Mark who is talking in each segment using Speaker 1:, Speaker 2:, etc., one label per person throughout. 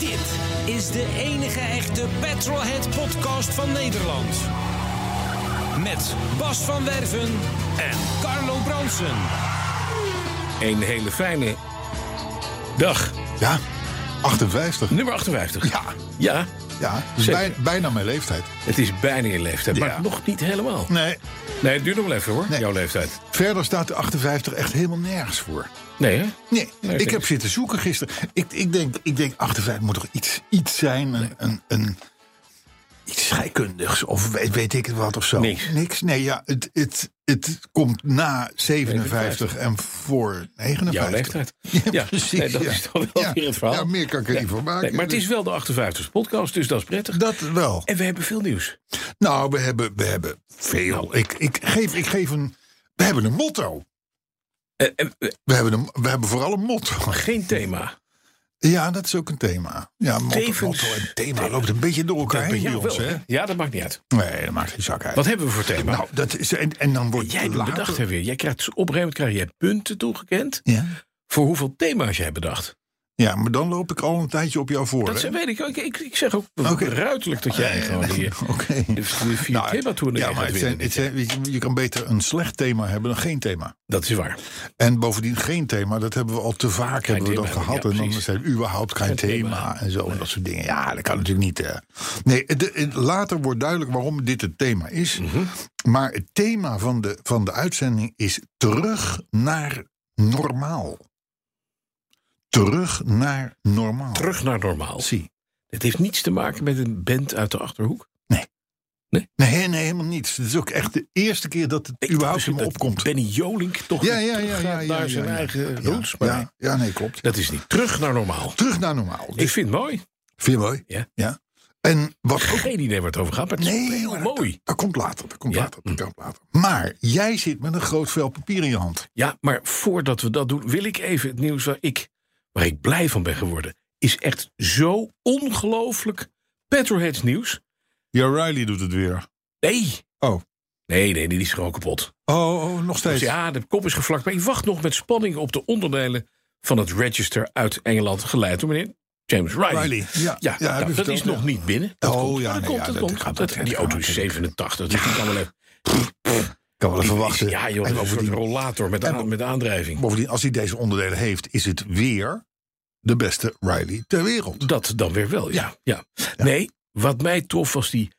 Speaker 1: Dit is de enige echte Petrolhead podcast van Nederland. Met Bas van Werven en Carlo Bronsen.
Speaker 2: Een hele fijne dag.
Speaker 3: Ja, 58.
Speaker 2: Nummer 58.
Speaker 3: Ja.
Speaker 2: Ja,
Speaker 3: Ja, dus
Speaker 2: Zeker.
Speaker 3: bij- bijna mijn leeftijd.
Speaker 2: het is bijna je leeftijd, maar
Speaker 3: Ja.
Speaker 2: nog niet helemaal.
Speaker 3: Nee.
Speaker 2: Nee, het duurt nog wel even hoor,
Speaker 3: Nee.
Speaker 2: jouw leeftijd.
Speaker 3: Verder staat de 58 echt helemaal nergens voor.
Speaker 2: Nee hè?
Speaker 3: Nee,
Speaker 2: Nee,
Speaker 3: ik
Speaker 2: denk-
Speaker 3: heb zitten zoeken gisteren. Ik, ik, denk, ik denk, 58 moet toch iets, iets zijn? Een, een, een, iets scheikundigs of weet, weet ik het wat of zo.
Speaker 2: Niks.
Speaker 3: Nee, ja, het, het, het komt na 57 en voor 59.
Speaker 2: Jouw leeftijd.
Speaker 3: Ja, precies.
Speaker 2: nee, dat
Speaker 3: ja.
Speaker 2: is dan wel
Speaker 3: Ja,
Speaker 2: weer het verhaal.
Speaker 3: Ja, meer kan ik er niet voor maken.
Speaker 2: Nee, maar het is wel de 58ste podcast, dus dat is prettig.
Speaker 3: Dat wel.
Speaker 2: En we hebben veel nieuws.
Speaker 3: Nou, we hebben, we hebben veel.
Speaker 2: Nou.
Speaker 3: Ik, ik, geef, ik geef een... We hebben een motto.
Speaker 2: Eh, eh, eh,
Speaker 3: We hebben, een, we hebben vooral een motto.
Speaker 2: geen thema.
Speaker 3: Ja, dat is ook een thema. Ja, motto,
Speaker 2: Tevens-
Speaker 3: motto en thema loopt een beetje door elkaar heen bij
Speaker 2: ja,
Speaker 3: ons,
Speaker 2: wel,
Speaker 3: hè?
Speaker 2: hè? ja, dat maakt niet uit.
Speaker 3: Nee, dat maakt geen zak uit.
Speaker 2: Wat hebben we voor thema?
Speaker 3: nou, dat is, en, en dan wordt
Speaker 2: jij
Speaker 3: later-
Speaker 2: bedacht er weer. Jij krijgt, op een gegeven moment krijg jij punten toegekend...
Speaker 3: Ja.
Speaker 2: voor hoeveel thema's jij bedacht.
Speaker 3: ja, maar dan loop ik al een tijdje op jou voor,
Speaker 2: Dat
Speaker 3: hè?
Speaker 2: weet ik. ook. Ik, ik, ik zeg ook
Speaker 3: Oké.
Speaker 2: ruidelijk dat jij gewoon die,
Speaker 3: Oké.
Speaker 2: die vier
Speaker 3: Nou,
Speaker 2: thema toen
Speaker 3: ja, maar het zijn, het zijn, weet je, je kan beter een slecht thema hebben dan geen thema.
Speaker 2: Dat is waar.
Speaker 3: En bovendien geen thema, dat hebben we al te vaak
Speaker 2: Geen
Speaker 3: hebben we dat
Speaker 2: thema,
Speaker 3: gehad.
Speaker 2: ja,
Speaker 3: en dan
Speaker 2: precies.
Speaker 3: zijn we überhaupt geen thema,
Speaker 2: thema.
Speaker 3: en zo en dat soort dingen. Ja, dat kan natuurlijk niet. eh. Nee, de- het- later wordt duidelijk waarom dit het thema is. Maar het thema van de, van de uitzending is terug naar normaal. Terug naar normaal.
Speaker 2: Terug naar normaal.
Speaker 3: Zie.
Speaker 2: Het heeft niets te maken met een band uit de Achterhoek.
Speaker 3: Nee, nee, helemaal niets. Het is ook echt de eerste keer dat het überhaupt in
Speaker 2: Misschien
Speaker 3: me
Speaker 2: dat
Speaker 3: opkomt.
Speaker 2: Benny Jolink toch
Speaker 3: Ja, ja, ja.
Speaker 2: terug
Speaker 3: ja,
Speaker 2: gaat
Speaker 3: ja,
Speaker 2: naar
Speaker 3: ja,
Speaker 2: zijn
Speaker 3: ja.
Speaker 2: eigen
Speaker 3: Ja,
Speaker 2: roots. Maar nee,
Speaker 3: ja, ja, nee, klopt.
Speaker 2: dat is niet. Terug naar normaal.
Speaker 3: Terug naar normaal. Dus
Speaker 2: Ik vind het mooi.
Speaker 3: Vind je mooi?
Speaker 2: Ja.
Speaker 3: ja. En wat ook
Speaker 2: Geen idee waar het over gaat, maar het is
Speaker 3: Nee,
Speaker 2: heel
Speaker 3: maar
Speaker 2: mooi.
Speaker 3: Dat komt later. Dat komt
Speaker 2: Ja. Hm.
Speaker 3: later. Dat komt later. Maar jij zit met een groot vel papier in je hand.
Speaker 2: Ja, maar voordat we dat doen, wil ik even het nieuws waar ik, waar ik blij van ben geworden. Is echt zo ongelooflijk Petroheads nieuws.
Speaker 3: Ja, Riley doet het weer.
Speaker 2: Nee.
Speaker 3: Oh.
Speaker 2: Nee, nee, die is gewoon kapot.
Speaker 3: Oh, oh, nog
Speaker 2: Dus
Speaker 3: steeds.
Speaker 2: ja, de kop is gevlakt. Maar ik wacht nog met spanning op de onderdelen van het register uit Engeland. Geleid door meneer James Riley.
Speaker 3: Riley. Ja,
Speaker 2: Ja,
Speaker 3: heb je
Speaker 2: nou, dat
Speaker 3: verteld,
Speaker 2: is nog
Speaker 3: ja.
Speaker 2: niet binnen. Dat
Speaker 3: Oh,
Speaker 2: komt. Maar
Speaker 3: ja,
Speaker 2: dat
Speaker 3: nee,
Speaker 2: komt,
Speaker 3: ja,
Speaker 2: dat
Speaker 3: dat
Speaker 2: komt.
Speaker 3: gaat
Speaker 2: Dat-
Speaker 3: natuurlijk
Speaker 2: die auto
Speaker 3: wel
Speaker 2: is
Speaker 3: natuurlijk.
Speaker 2: 87, dus die kan wel even...
Speaker 3: Kan wel even wachten.
Speaker 2: Ja joh,
Speaker 3: en
Speaker 2: dat is een soort
Speaker 3: bovendien,
Speaker 2: rollator met, aan- met aandrijving.
Speaker 3: bovendien, als hij deze onderdelen heeft, is het weer de beste Riley ter wereld.
Speaker 2: Dat dan weer wel, ja. ja. Nee, wat mij trof was die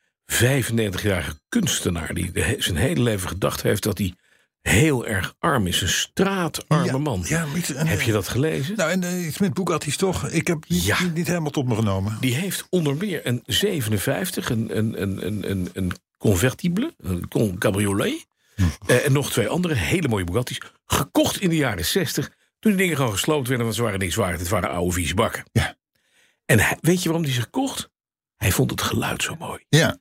Speaker 2: 95-jarige kunstenaar... die de he- zijn hele leven gedacht heeft dat hij heel erg arm is. Een straatarme
Speaker 3: Ja,
Speaker 2: man.
Speaker 3: ja, maar iets- en-
Speaker 2: Heb je dat gelezen?
Speaker 3: Nou, en eh, iets met Bugatti's toch? Ik heb niet,
Speaker 2: Ja.
Speaker 3: niet, niet helemaal tot me genomen.
Speaker 2: Die heeft onder meer een 57, een, een, een, een, een, een convertible, een con- cabriolet...
Speaker 3: Hm.
Speaker 2: eh, en nog twee andere hele mooie Bugatti's... gekocht in de jaren 60... toen die dingen gewoon gesloopt werden... want ze waren niks waard, het waren oude vieze bakken.
Speaker 3: Ja.
Speaker 2: En hij- weet je waarom die ze gekocht? Hij vond het geluid zo mooi.
Speaker 3: Ja.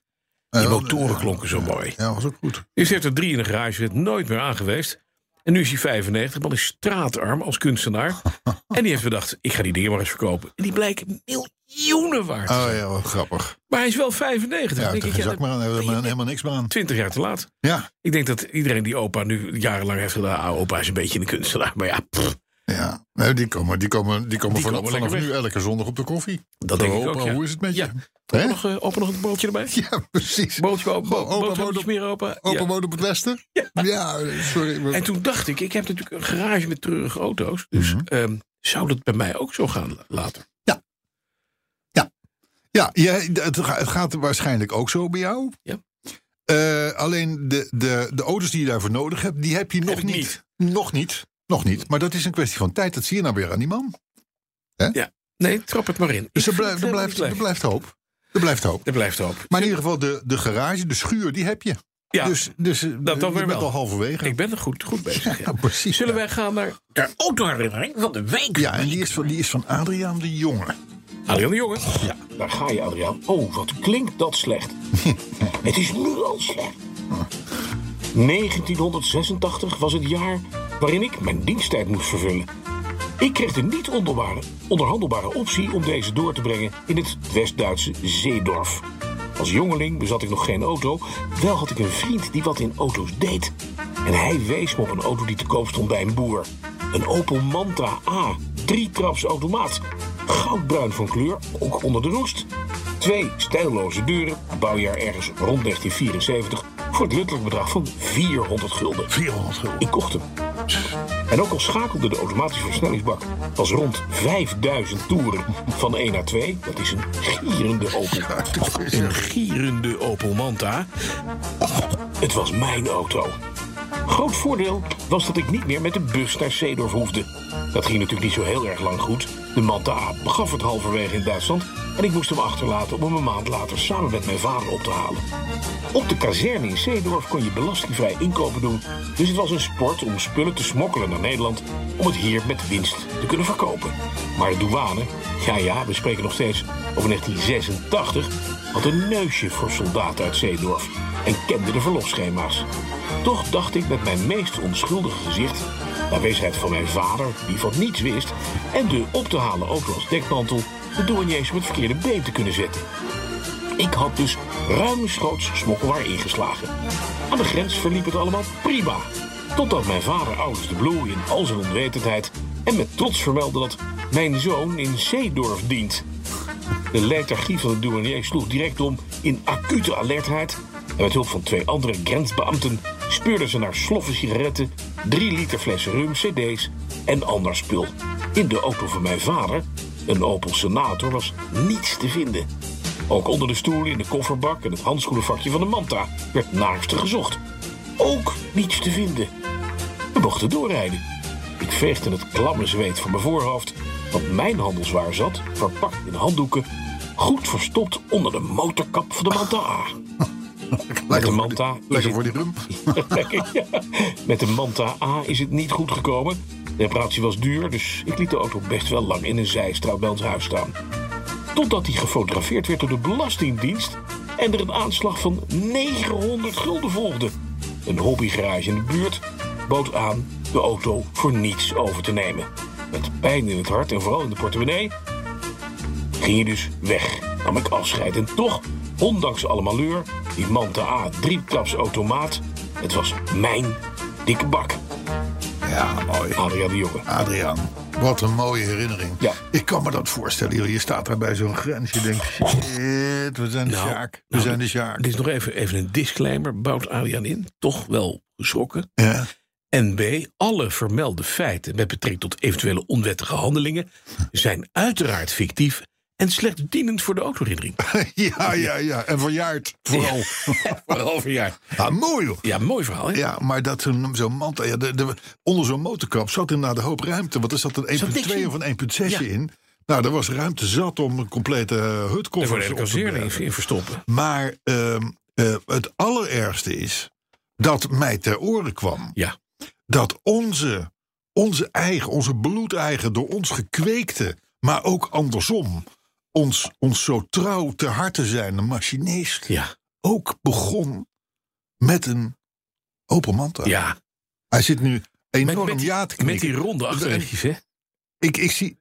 Speaker 2: Die
Speaker 3: Eh,
Speaker 2: motoren
Speaker 3: eh,
Speaker 2: klonken zo mooi.
Speaker 3: Ja, was ook goed.
Speaker 2: Dus hij heeft er drie in de garage gezet, nooit meer aangeweest. En nu is hij 95, man is straatarm als kunstenaar. En die heeft bedacht, ik ga die dingen maar eens verkopen. En die blijken miljoenen waard.
Speaker 3: Oh ja, wat grappig.
Speaker 2: Maar hij is wel 95.
Speaker 3: Ja,
Speaker 2: denk
Speaker 3: toch
Speaker 2: ik,
Speaker 3: geen
Speaker 2: ja,
Speaker 3: zak
Speaker 2: dat-
Speaker 3: meer aan. Hebben we er helemaal niks meer aan.
Speaker 2: 20 jaar te laat.
Speaker 3: Ja.
Speaker 2: Ik denk dat iedereen die opa nu jarenlang heeft gedaan... ah, opa is een beetje een kunstenaar, maar ja, pff,
Speaker 3: Ja, nee, die komen, die komen, die komen
Speaker 2: Die
Speaker 3: vanaf,
Speaker 2: komen lekker
Speaker 3: vanaf nu elke zondag op de koffie.
Speaker 2: dat denk ik
Speaker 3: opa,
Speaker 2: ook, ja.
Speaker 3: hoe is het met
Speaker 2: Ja.
Speaker 3: je?
Speaker 2: Opa
Speaker 3: Hè?
Speaker 2: nog, eh, opa nog een broodje erbij?
Speaker 3: Ja, precies.
Speaker 2: Broodje opa,
Speaker 3: Bo- opa
Speaker 2: boterhammetjes
Speaker 3: woont op-
Speaker 2: meer opa. Ja.
Speaker 3: Open woont op het westen? Ja, sorry. maar-
Speaker 2: En toen dacht ik, ik heb natuurlijk een garage met treurige auto's. Dus
Speaker 3: Mhm.
Speaker 2: ehm, zou dat bij mij ook zo gaan la- later?
Speaker 3: Ja, jij- het, ga- het gaat waarschijnlijk ook zo bij jou.
Speaker 2: Ja.
Speaker 3: Eh, alleen de, de, de auto's die je daarvoor nodig hebt, die heb je nog
Speaker 2: ik
Speaker 3: niet. Nog niet. Nog niet. Maar dat is een kwestie van tijd. Dat zie je nou weer aan die man.
Speaker 2: Nee, trap het maar in.
Speaker 3: Dus
Speaker 2: Ik
Speaker 3: er, blijft
Speaker 2: vind het
Speaker 3: er, blijft,
Speaker 2: helemaal
Speaker 3: er
Speaker 2: niet leuk.
Speaker 3: blijft hoop. Er blijft hoop.
Speaker 2: Er blijft hoop.
Speaker 3: Maar in ieder geval, de, de garage, de schuur, die heb je.
Speaker 2: Ja,
Speaker 3: dus dus eh,
Speaker 2: dat dan
Speaker 3: je
Speaker 2: weer
Speaker 3: bent
Speaker 2: wel.
Speaker 3: al halverwege.
Speaker 2: ik ben er goed, goed bezig. ja.
Speaker 3: Ja, precies.
Speaker 2: Zullen
Speaker 3: ja.
Speaker 2: wij gaan naar de autoherinnering van de week?
Speaker 3: Ja, en die is van, die is van Adriaan de Jonge.
Speaker 2: Adriaan de Jonge. Ja, daar ga je, Adriaan. Oh, wat klinkt dat slecht. het is nu al slecht. 1986 was het jaar waarin ik mijn diensttijd moest vervullen. Ik kreeg de niet onderbare- onderhandelbare optie om deze door te brengen in het West-Duitse Zeedorf. Als jongeling bezat ik nog geen auto, wel had ik een vriend die wat in auto's deed. En hij wees me op een auto die te koop stond bij een boer. Een Opel Manta A, drietraps automaat. Goudbruin van kleur, ook onder de roest. Twee stijlloze deuren, bouwjaar ergens rond 1974... voor het luttelijk bedrag van 400 gulden.
Speaker 3: 400 gulden.
Speaker 2: Ik kocht hem. En ook al schakelde de automatische versnellingsbak pas rond 5000 toeren van 1 naar 2, dat is een gierende Opel. Een gierende Opel Manta. Het was mijn auto. Groot voordeel was dat ik niet meer met de bus naar Seedorf hoefde. Dat ging natuurlijk niet zo heel erg lang goed. De Manta A begaf het halverwege in Duitsland en ik moest hem achterlaten om hem een maand later samen met mijn vader op te halen. Op de kazerne in Zeedorf kon je belastingvrij inkopen doen. Dus het was een sport om spullen te smokkelen naar Nederland. om het hier met winst te kunnen verkopen. Maar de douane, ja ja, we spreken nog steeds over 1986. had een neusje voor soldaten uit Zeedorf. en kende de verlofschema's. Toch dacht ik met mijn meest onschuldige gezicht. de aanwezigheid van mijn vader, die van niets wist. en de op te halen auto als dekmantel. de douaniers op het verkeerde been te kunnen zetten. Ik had dus ruimschoots smokkelaar ingeslagen. Aan de grens verliep het allemaal prima. Totdat mijn vader ouders de Blue in al zijn onwetendheid... en met trots vermeldde dat mijn zoon in Zeedorf dient. De letargie van de douanier sloeg direct om in acute alertheid... en met hulp van twee andere grensbeambten... speurden ze naar sloffen sigaretten, drie liter flessen rum, cd's en ander spul. In de auto van mijn vader, een Opel Senator, was niets te vinden. Ook onder de stoel, in de kofferbak en het handschoenenvakje van de Manta werd naakste gezocht. Ook niets te vinden. We mochten doorrijden. Ik veegde het klamme zweet van mijn voorhoofd, want mijn handelswaar zat, verpakt in handdoeken, goed verstopt onder de motorkap van de Manta A. Met de
Speaker 3: Lekker, voor
Speaker 2: Manta
Speaker 3: die,
Speaker 2: is
Speaker 3: lekker
Speaker 2: het-
Speaker 3: voor die rum.
Speaker 2: ja, met de Manta A is het niet goed gekomen. De reparatie was duur, dus ik liet de auto best wel lang in een zijstraat bij ons huis staan. Totdat hij gefotografeerd werd door de Belastingdienst en er een aanslag van 900 gulden volgde. Een hobbygarage in de buurt bood aan de auto voor niets over te nemen. Met pijn in het hart en vooral in de portemonnee ging hij dus weg. Nam ik afscheid. En toch, ondanks alle malheur, die Manta A drieklapsautomaat, het was mijn dikke bak.
Speaker 3: Ja, mooi.
Speaker 2: Adriaan de Jonge.
Speaker 3: Adriaan, wat een mooie herinnering.
Speaker 2: Ja.
Speaker 3: Ik kan me dat voorstellen. joh. Je staat daar bij zo'n grens. Je denkt, shit, we zijn de
Speaker 4: Nou,
Speaker 3: Sjaak. We zijn dus de Sjaak.
Speaker 4: Dit is nog even, even een disclaimer. Bouwt Adriaan in, toch wel geschrokken.
Speaker 3: Ja.
Speaker 4: En B, alle vermelde feiten met betrekking tot eventuele onwettige handelingen... zijn uiteraard fictief en slechts dienend voor de autoherinnering.
Speaker 3: ja, ja, ja. En verjaard vooral.
Speaker 4: Vooral verjaard.
Speaker 3: Ah, mooi hoor.
Speaker 4: Ja, mooi verhaal, hè?
Speaker 3: Ja, maar dat zo'n zo'n manta. Ja, de, de- onder zo'n motorkap zat inderdaad een hoop ruimte. Want er zat een 1,2 of een 1,6
Speaker 4: Ja.
Speaker 3: in. Nou, er was ruimte zat om een complete eh,
Speaker 4: Daar
Speaker 3: hutkoffer
Speaker 4: wordt de
Speaker 3: op te
Speaker 4: kazerne
Speaker 3: bergen.
Speaker 4: in, in verstoppen.
Speaker 3: Maar ehm, eh, het allerergste is dat mij ter oren kwam
Speaker 4: Ja.
Speaker 3: dat onze, onze eigen, onze bloedeigen, door ons gekweekte, maar ook andersom, ons, ons zo trouw te harte zijn, de machinist,
Speaker 4: Ja.
Speaker 3: ook begon met een Opel Manta.
Speaker 4: Ja.
Speaker 3: Hij zit nu enorm
Speaker 4: met die-
Speaker 3: ja te
Speaker 4: Met
Speaker 3: knikken.
Speaker 4: die ronde achterrechtjes, hè?
Speaker 3: Ik, ik zie...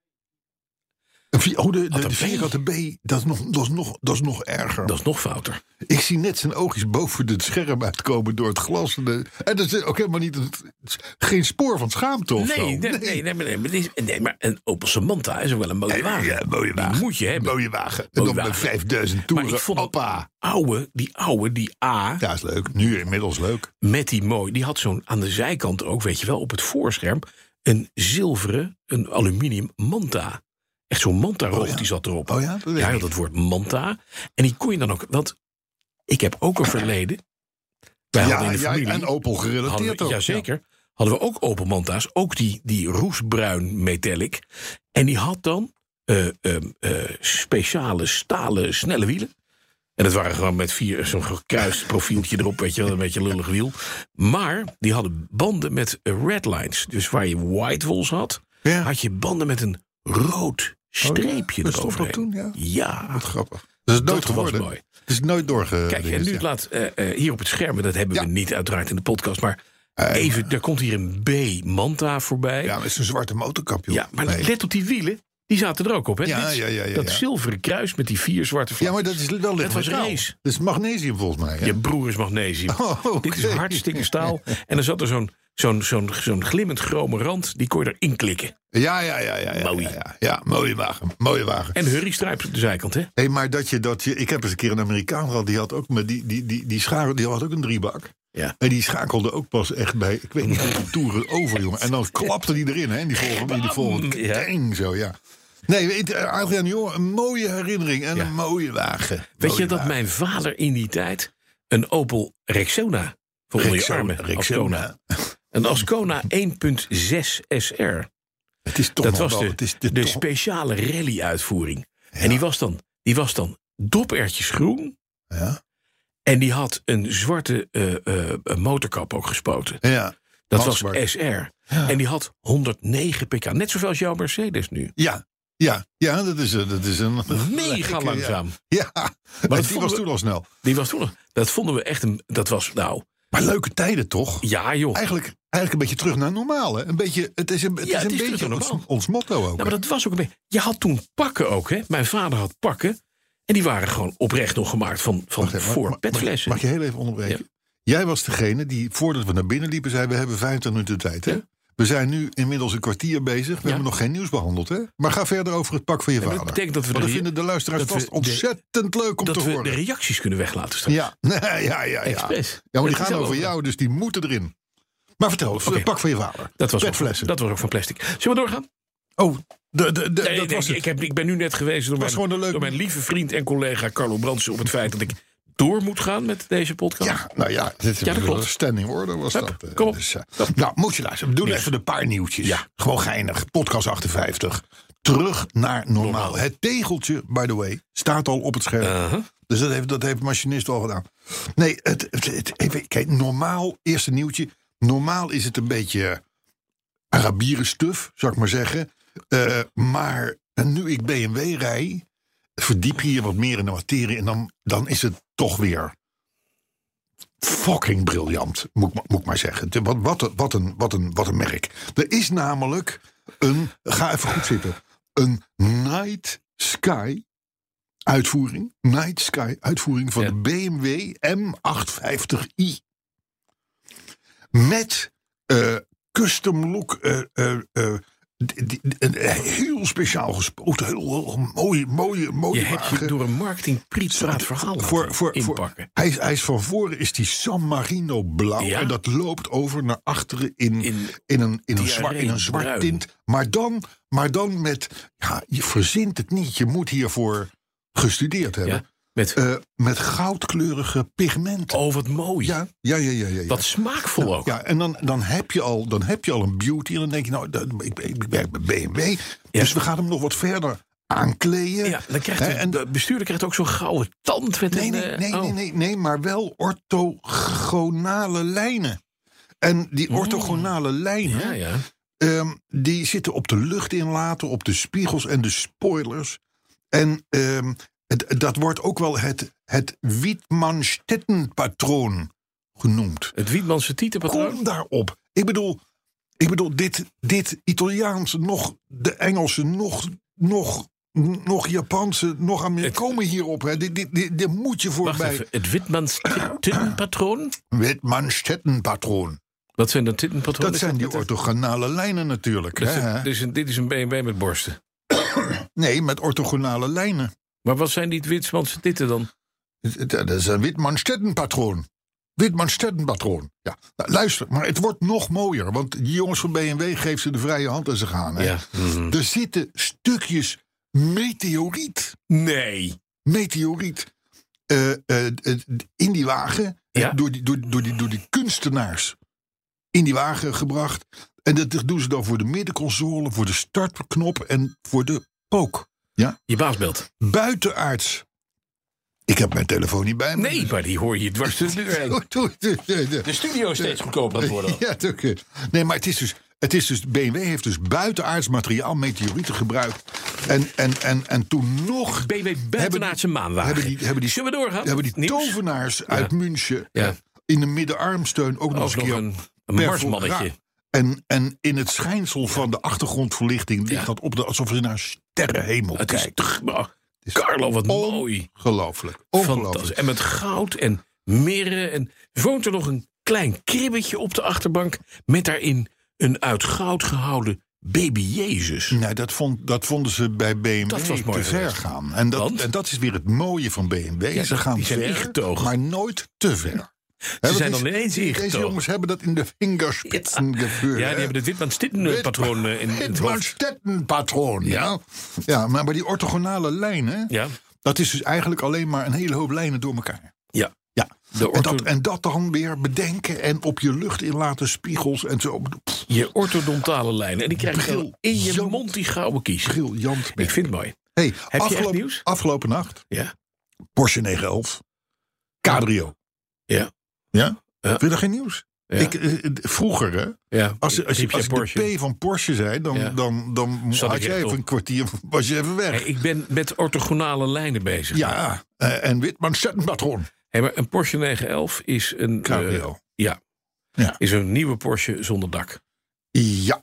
Speaker 3: een vi- Oh, de, de,
Speaker 4: Had een
Speaker 3: de
Speaker 4: B.
Speaker 3: vierkante B, dat is nog, dat is nog, dat is nog erger.
Speaker 4: Dat is nog fouter.
Speaker 3: Ik zie net zijn oogjes boven het scherm uitkomen door het glas. En, de- en dat is ook helemaal niet... het is geen spoor van schaamte of zo.
Speaker 4: Nee, nee, nee, nee, nee, maar dit is- nee, maar een Opel Samantha is ook wel een mooie wagen.
Speaker 3: Ja, mooie
Speaker 4: Die
Speaker 3: wagen.
Speaker 4: moet je hebben.
Speaker 3: Mooie wagen. En
Speaker 4: Mooie
Speaker 3: dan met
Speaker 4: wagen.
Speaker 3: 5000
Speaker 4: Maar
Speaker 3: toeren.
Speaker 4: ik vond het
Speaker 3: Oppa.
Speaker 4: oude, die oude, die A,
Speaker 3: Ja, is leuk. Nu inmiddels leuk.
Speaker 4: met die mooi, die had zo'n aan de zijkant ook, weet je wel, op het voorscherm, een zilveren, een aluminium manta. Echt zo'n manta-roog,
Speaker 3: Oh ja.
Speaker 4: die zat erop.
Speaker 3: Oh ja, dat weet
Speaker 4: ja,
Speaker 3: ik.
Speaker 4: dat woord manta. En die kon je dan ook, want ik heb ook een verleden. Wij hadden
Speaker 3: Ja,
Speaker 4: in de
Speaker 3: ja,
Speaker 4: familie,
Speaker 3: en Opel
Speaker 4: hadden
Speaker 3: gerelateerd
Speaker 4: we,
Speaker 3: ook.
Speaker 4: jazeker, hadden we ook Opel manta's, ook die, die roesbruin metallic.
Speaker 2: eh,
Speaker 4: En die had dan eh, ehm, eh, speciale stalen snelle wielen.
Speaker 2: En dat waren gewoon met vier, zo'n gekruist profieltje erop, weet je wel, een beetje lullig wiel. Maar die hadden banden met eh, red lines. Dus waar je white walls had,
Speaker 3: Ja.
Speaker 2: had je banden met een rood streepje
Speaker 3: Oh dat stond
Speaker 2: eroverheen.
Speaker 3: dat toen, ja.
Speaker 2: Ja,
Speaker 3: Grappig. Dat is nooit
Speaker 2: was
Speaker 3: geworden.
Speaker 2: mooi.
Speaker 3: Het is nooit doorge.
Speaker 2: Kijk, en nu het laat eh, eh, hier op het scherm, en dat hebben
Speaker 3: dus, Ja. Eh,
Speaker 2: we niet uiteraard in de podcast, maar even, er komt hier een B Manta voorbij.
Speaker 3: Ja,
Speaker 2: Ja,
Speaker 3: maar het is een zwarte motorkap, joh.
Speaker 2: maar
Speaker 3: Nee.
Speaker 2: let op die wielen, die zaten er ook op. Hè?
Speaker 3: Ja,
Speaker 2: Dit is
Speaker 3: ja, ja, ja,
Speaker 2: dat
Speaker 3: ja.
Speaker 2: zilveren kruis met die vier zwarte
Speaker 3: Ja,
Speaker 2: vlaggen.
Speaker 3: maar dat is wel licht
Speaker 2: was
Speaker 3: metaal.
Speaker 2: race.
Speaker 3: Dat is magnesium volgens mij. Hè?
Speaker 2: Je broer is magnesium.
Speaker 3: Oh, oké.
Speaker 2: Dit is hartstikke staal. En er zat er zo'n zo'n zo'n zo'n glimmend chrome rand, die kon je erin klikken.
Speaker 3: Ja, ja, ja, ja, ja.
Speaker 2: Mooi.
Speaker 3: Ja, ja. Ja, mooie wagen. Mooie wagen.
Speaker 2: En hurrystripe op de zijkant, hè?
Speaker 3: Hé, maar dat je dat je. Ik heb eens een keer een Amerikaan gehad. Die had ook, maar die, die, die, die, schakel, die had ook een driebak.
Speaker 2: Ja.
Speaker 3: En die schakelde ook pas echt bij. Ik weet niet hoeveel toeren over, jongen. En dan klapte die erin, hè? En die volgende. Die volgende
Speaker 2: Ja.
Speaker 3: Keng, zo, ja. Nee, weet, eh, Adriaan Jong, een mooie herinnering en
Speaker 2: Ja.
Speaker 3: een mooie wagen.
Speaker 2: Weet
Speaker 3: Mooie
Speaker 2: je dat
Speaker 3: wagen.
Speaker 2: mijn vader in die tijd een Opel Rexona voor onder je
Speaker 3: Rexona,
Speaker 2: armen,
Speaker 3: Rexona.
Speaker 2: Ascona. Een Ascona 1.6 SR.
Speaker 3: Het is toch
Speaker 2: Dat
Speaker 3: nog
Speaker 2: was
Speaker 3: wel-
Speaker 2: de,
Speaker 3: het is
Speaker 2: de
Speaker 3: toch-
Speaker 2: speciale rally-uitvoering. En die was dan, die was dan dopertjes groen.
Speaker 3: Ja.
Speaker 2: En die had een zwarte eh, eh, eh, motorkap ook gespoten.
Speaker 3: Ja.
Speaker 2: Dat
Speaker 3: Mansbart.
Speaker 2: was SR. En die had 109 pk. Net zoveel als jouw Mercedes dus nu.
Speaker 3: Ja, ja, ja, dat is, eh, dat is een.
Speaker 2: Mega
Speaker 3: Ja.
Speaker 2: langzaam.
Speaker 3: Ja, maar
Speaker 2: dat
Speaker 3: die
Speaker 2: vonden
Speaker 3: was
Speaker 2: we-
Speaker 3: toen al snel.
Speaker 2: Die was toen nog- Dat vonden we echt een. Dat was nou.
Speaker 3: Maar leuke tijden toch?
Speaker 2: Ja, joh.
Speaker 3: Eigenlijk, eigenlijk een beetje terug naar normaal. Hè? Een beetje, het is een, het
Speaker 2: Ja,
Speaker 3: is
Speaker 2: het
Speaker 3: een
Speaker 2: is terug
Speaker 3: beetje
Speaker 2: naar
Speaker 3: ons,
Speaker 2: normaal.
Speaker 3: ons motto ook.
Speaker 2: Nou, maar dat was ook een beetje. Je had toen pakken ook, hè? Mijn vader had pakken. En die waren gewoon oprecht nog gemaakt van, van
Speaker 3: Wacht even, mag-
Speaker 2: voor
Speaker 3: mag- mag,
Speaker 2: petflessen.
Speaker 3: mag je heel even onderbreken? Jij was degene die, voordat we naar binnen liepen, zei: We hebben 25 minuten tijd. Hè? We zijn nu inmiddels een kwartier bezig. We hebben nog geen nieuws behandeld. Hè? Maar ga verder over het pak van je
Speaker 2: maar dat
Speaker 3: vader.
Speaker 2: betekent dat we
Speaker 3: Want
Speaker 2: de
Speaker 3: dat
Speaker 2: re-
Speaker 3: vinden de luisteraars
Speaker 2: dat we
Speaker 3: vast
Speaker 2: de-
Speaker 3: ontzettend leuk om te
Speaker 2: Dat we de
Speaker 3: horen.
Speaker 2: reacties kunnen weglaten straks.
Speaker 3: Ja, nee, ja, ja, ja.
Speaker 2: Expres.
Speaker 3: Ja, maar
Speaker 2: Dat
Speaker 3: die gaan
Speaker 2: is wel
Speaker 3: over
Speaker 2: wel-
Speaker 3: jou, dus die moeten erin. Maar vertel,
Speaker 2: Oké.
Speaker 3: het pak van je vader.
Speaker 2: Dat was, ook,
Speaker 3: Petflessen.
Speaker 2: dat was ook van plastic. Zullen we doorgaan?
Speaker 3: Oh, de, de, de, dat
Speaker 2: Nee, nee,
Speaker 3: was
Speaker 2: ik,
Speaker 3: het.
Speaker 2: ik heb, ik ben nu net gewezen door,
Speaker 3: was
Speaker 2: mijn,
Speaker 3: gewoon een leuk-
Speaker 2: door mijn lieve vriend en collega Carlo Brandsen... op het feit dat ik door moet gaan met deze podcast.
Speaker 3: Ja, nou ja, dit is
Speaker 2: Ja, dat
Speaker 3: een
Speaker 2: klopt.
Speaker 3: standing order was
Speaker 2: Hup,
Speaker 3: dat. eh,
Speaker 2: kom op.
Speaker 3: dus, eh, nou, moet je luisteren. We doen even een paar nieuwtjes.
Speaker 2: Ja.
Speaker 3: Gewoon geinig. Podcast 58. Terug naar normaal. Het tegeltje, by the way, staat al op het scherm. Dus dat heeft, dat heeft machinist al gedaan. Nee, het, het, het- even, kijk, normaal, eerste nieuwtje. Normaal is het een beetje Arabierenstuf, zou ik maar zeggen. Eh, maar nu ik BMW rij, verdiep je je wat meer in de materie. En dan, dan is het toch weer fucking briljant, moet, ik ma- moet ik maar zeggen. De- Wat, wat, een- wat, een, wat, een, wat een merk. Er is namelijk een, ga even goed zitten, een Night Sky uitvoering, Night Sky uitvoering van
Speaker 2: Ja.
Speaker 3: de BMW M850i. Met eh, custom look, eh, eh, eh, die- die- een heel speciaal gespoten, heel, heel mooi, mooie, mooie
Speaker 2: Je hebt je
Speaker 3: wagen.
Speaker 2: door een marketingpriet praat verhaal
Speaker 3: Voor, voor, voor,
Speaker 2: inpakken.
Speaker 3: hij, is, hij is van voren is die San Marino blauw.
Speaker 2: Ja.
Speaker 3: En dat loopt over naar achteren in, in,
Speaker 2: In
Speaker 3: een, in, een,
Speaker 2: diarree
Speaker 3: zwart, in een zwart
Speaker 2: bruin.
Speaker 3: tint. Maar dan, maar dan met... Ja, je verzint het niet. Je moet hiervoor gestudeerd hebben.
Speaker 2: Ja, met,
Speaker 3: Eh, met goudkleurige pigmenten.
Speaker 2: oh, wat mooi.
Speaker 3: Ja, ja, ja, ja. ja, ja.
Speaker 2: Wat smaakvol ook.
Speaker 3: Ja, en dan, dan, heb je al, dan heb je al een beauty. En dan denk je, nou, dat- ik, ik, ik werk bij BMW.
Speaker 2: Ja.
Speaker 3: Dus we gaan hem nog wat verder aankleden.
Speaker 2: Ja, dan krijgt
Speaker 3: Hè,
Speaker 2: de,
Speaker 3: en-
Speaker 2: de bestuurder krijgt ook zo'n gouden tand. Met
Speaker 3: Nee,
Speaker 2: een,
Speaker 3: nee,
Speaker 2: eh,
Speaker 3: nee,
Speaker 2: oh.
Speaker 3: nee, nee, nee, maar wel orthogonale lijnen. En die orthogonale lijnen,
Speaker 2: Hmm. Ja, ja.
Speaker 3: ehm, die zitten op de luchtinlaten, op de spiegels en de spoilers. En ehm, het- dat wordt ook wel het, het Wittmann-Stetten-patroon genoemd.
Speaker 2: Het Wietmanse tietenpatroon.
Speaker 3: Kom daarop. Ik bedoel, ik bedoel dit, dit Italiaanse, nog de Engelse, nog, nog, nog Japanse, nog Amerikaanse. Komen hierop, hè. Dit, dit, dit, dit moet je
Speaker 2: Wacht
Speaker 3: voorbij.
Speaker 2: even. Het Wietmanse tietenpatroon.
Speaker 3: Wittmann-Stetten-patroon.
Speaker 2: Wat zijn dat tietenpatronen?
Speaker 3: Dat zijn die
Speaker 2: Dat-
Speaker 3: orthogonale lijnen natuurlijk.
Speaker 2: dat is
Speaker 3: hè?
Speaker 2: een- dit is Dus een- Dit is een BMW met borsten.
Speaker 3: Nee, met orthogonale lijnen.
Speaker 2: Maar wat zijn die Witsmanse titten dan?
Speaker 3: Dat is een Wittmann-Stetten-patroon. Wittmann-Stetten-patroon. Ja. Nou, luister, maar het wordt nog mooier. Want die jongens van BMW geven ze de vrije hand en ze gaan. Hè? Er zitten stukjes meteoriet.
Speaker 2: Nee.
Speaker 3: meteoriet eh, eh, eh, in die wagen. eh,
Speaker 2: Ja.
Speaker 3: Door, die, door, door, die, door die kunstenaars in die wagen gebracht. En dat doen ze dan voor de middenconsole, voor de startknop en voor de pook.
Speaker 2: Je baas belt.
Speaker 3: Buitenaards. Ik heb mijn telefoon niet bij me.
Speaker 2: Nee, maar die hoor je dwars de deur heen. De studio is steeds goedkoper aan het worden.
Speaker 3: Ja, het ook, eh, Nee, maar het is dus. Het is dus BMW heeft dus buitenaards materiaal, meteorieten gebruikt. En, en, en, en toen nog.
Speaker 2: BMW buitenaardse
Speaker 3: hebben-
Speaker 2: maanwagen.
Speaker 3: Hebben die, hebben die,
Speaker 2: Zullen we doorgaan?
Speaker 3: hebben die
Speaker 2: Nieuws?
Speaker 3: tovenaars uit München.
Speaker 2: Ja.
Speaker 3: in de middenarmsteun ook nog eens
Speaker 2: Ook
Speaker 3: een
Speaker 2: nog
Speaker 3: keer.
Speaker 2: een, een
Speaker 3: per
Speaker 2: marsmannetje.
Speaker 3: fotograaf. En, en in het schijnsel van de achtergrondverlichting ligt dat op de, alsof je naar sterrenhemel
Speaker 2: Het is
Speaker 3: kijkt.
Speaker 2: toch... oh, Carlo, wat mooi.
Speaker 3: Ongelooflijk.
Speaker 2: Fantastisch.
Speaker 3: Ongelooflijk.
Speaker 2: En met goud en mirren. En woont er nog een klein kribbetje op de achterbank... met daarin een uit goud gehouden baby Jezus.
Speaker 3: Nou, dat, vond, dat vonden ze bij BMW
Speaker 2: Dat was mooi
Speaker 3: te ver
Speaker 2: geweest.
Speaker 3: gaan. En dat,
Speaker 2: Want?
Speaker 3: en dat is weer het mooie van BMW. ze gaan
Speaker 2: die zijn
Speaker 3: ver,
Speaker 2: ingetogen.
Speaker 3: maar nooit te ver. Hè,
Speaker 2: Ze
Speaker 3: dat
Speaker 2: zijn
Speaker 3: is-
Speaker 2: dan ineens
Speaker 3: Deze
Speaker 2: ingetogen.
Speaker 3: jongens hebben dat in de vingerspitsen gebeurd.
Speaker 2: Ja, die hebben het
Speaker 3: Wit-
Speaker 2: Witman-Stitten-patroon eh, in in het hoofd.
Speaker 3: Hitmanstetten-patroon, ja. ja maar, maar die orthogonale lijnen,
Speaker 2: Ja,
Speaker 3: dat is dus eigenlijk alleen maar een hele hoop lijnen door elkaar.
Speaker 2: ja.
Speaker 3: Ja.
Speaker 2: De
Speaker 3: En
Speaker 2: ortho-
Speaker 3: dat, en dat dan weer bedenken en op je lucht inlaten, spiegels en zo. Pff,
Speaker 2: Je orthodontale lijn. En die krijg je dan in je
Speaker 3: Briljant.
Speaker 2: mond die gouden kies.
Speaker 3: Briljant.
Speaker 2: Ik vind het mooi.
Speaker 3: Hey,
Speaker 2: echt
Speaker 3: afgelopen,
Speaker 2: nieuws?
Speaker 3: Afgelopen nacht,
Speaker 2: Ja.
Speaker 3: Porsche 911, Cabrio.
Speaker 2: Ja.
Speaker 3: Ja?
Speaker 2: Ja.
Speaker 3: Vind je dat geen nieuws? Ik, eh, eh, vroeger, hè,
Speaker 2: Ja.
Speaker 3: als, je- als, je,
Speaker 2: Riep jij
Speaker 3: als je de P van Porsche zei, dan,
Speaker 2: Ja.
Speaker 3: dan, dan
Speaker 2: Zat
Speaker 3: had
Speaker 2: ik
Speaker 3: je
Speaker 2: echt
Speaker 3: even
Speaker 2: op.
Speaker 3: een kwartier, was je even weg.
Speaker 2: Hey, ik ben met orthogonale lijnen bezig.
Speaker 3: Ja, eh, en Witman Settenpatroon.
Speaker 2: Hey, maar een Porsche 911 is een,
Speaker 3: Cabrio.
Speaker 2: eh, ja,
Speaker 3: Ja.
Speaker 2: is een nieuwe Porsche zonder dak.
Speaker 3: Eh, Ja.